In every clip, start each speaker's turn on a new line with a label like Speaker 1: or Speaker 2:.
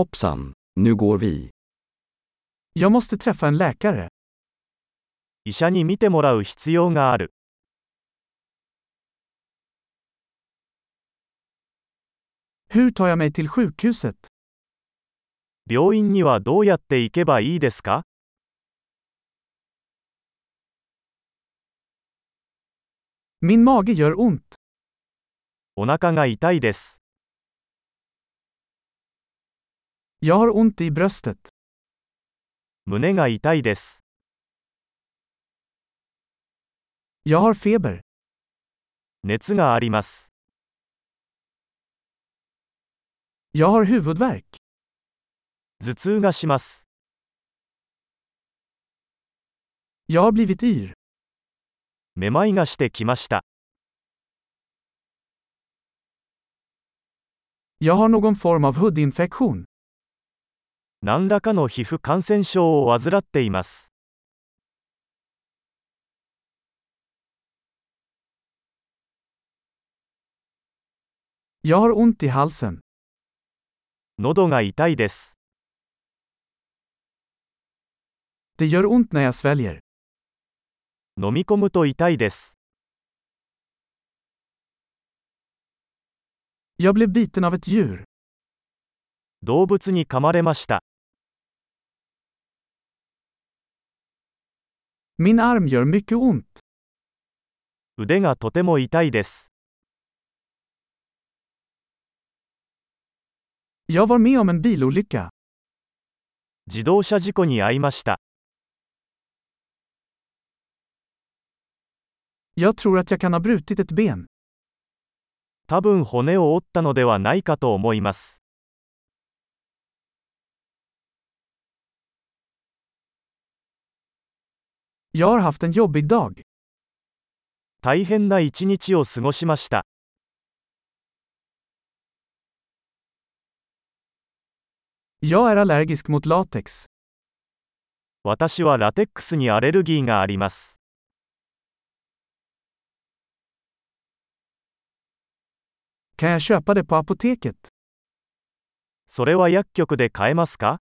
Speaker 1: Hoppsan, nu går vi.
Speaker 2: Jag måste träffa en läkare.
Speaker 3: 医者に診てもらう必要がある
Speaker 2: Hur tar jag mig till sjukhuset?
Speaker 3: 病院にはどうやって行けばいいですか
Speaker 2: Min mage gör ont.
Speaker 3: お腹が痛いです
Speaker 2: Jag har ont i bröstet.
Speaker 3: 胸が痛いです
Speaker 2: Jag har feber.
Speaker 3: 熱があります
Speaker 2: Jag har huvudvärk.
Speaker 3: 頭痛がします
Speaker 2: Jag har blivit yr.
Speaker 3: めまいがしてきました
Speaker 2: Jag har någon form av hudinfektion.
Speaker 3: 何らかの皮膚感染症を患っています
Speaker 2: Jag har ont i halsen.
Speaker 3: 喉が痛いです
Speaker 2: Det gör ont när jag sväljer.
Speaker 3: 飲み込むと痛いです
Speaker 2: Jag blev biten av ett djur.
Speaker 3: 動物に噛まれました
Speaker 2: Min arm gör mycket ont.
Speaker 3: 腕がとても痛いです
Speaker 2: Jag var med om en bilolycka.
Speaker 3: 自動車事故に遭いました
Speaker 2: Jag tror att jag kan ha brutit ett ben.
Speaker 3: 多分骨を折ったのではないかと思います
Speaker 2: Jag har haft en jobbig dag.
Speaker 3: 大変な一日を過ごしました
Speaker 2: Jag är allergisk mot latex.
Speaker 3: 私はラテックスにアレルギーがあります
Speaker 2: Kan jag köpa det på apoteket?
Speaker 3: それは薬局で買えますか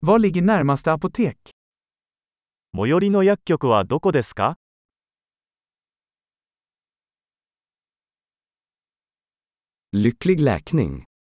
Speaker 2: Var ligger närmaste apotek?
Speaker 3: 最寄りの薬局はどこですか
Speaker 1: Lycklig läkning!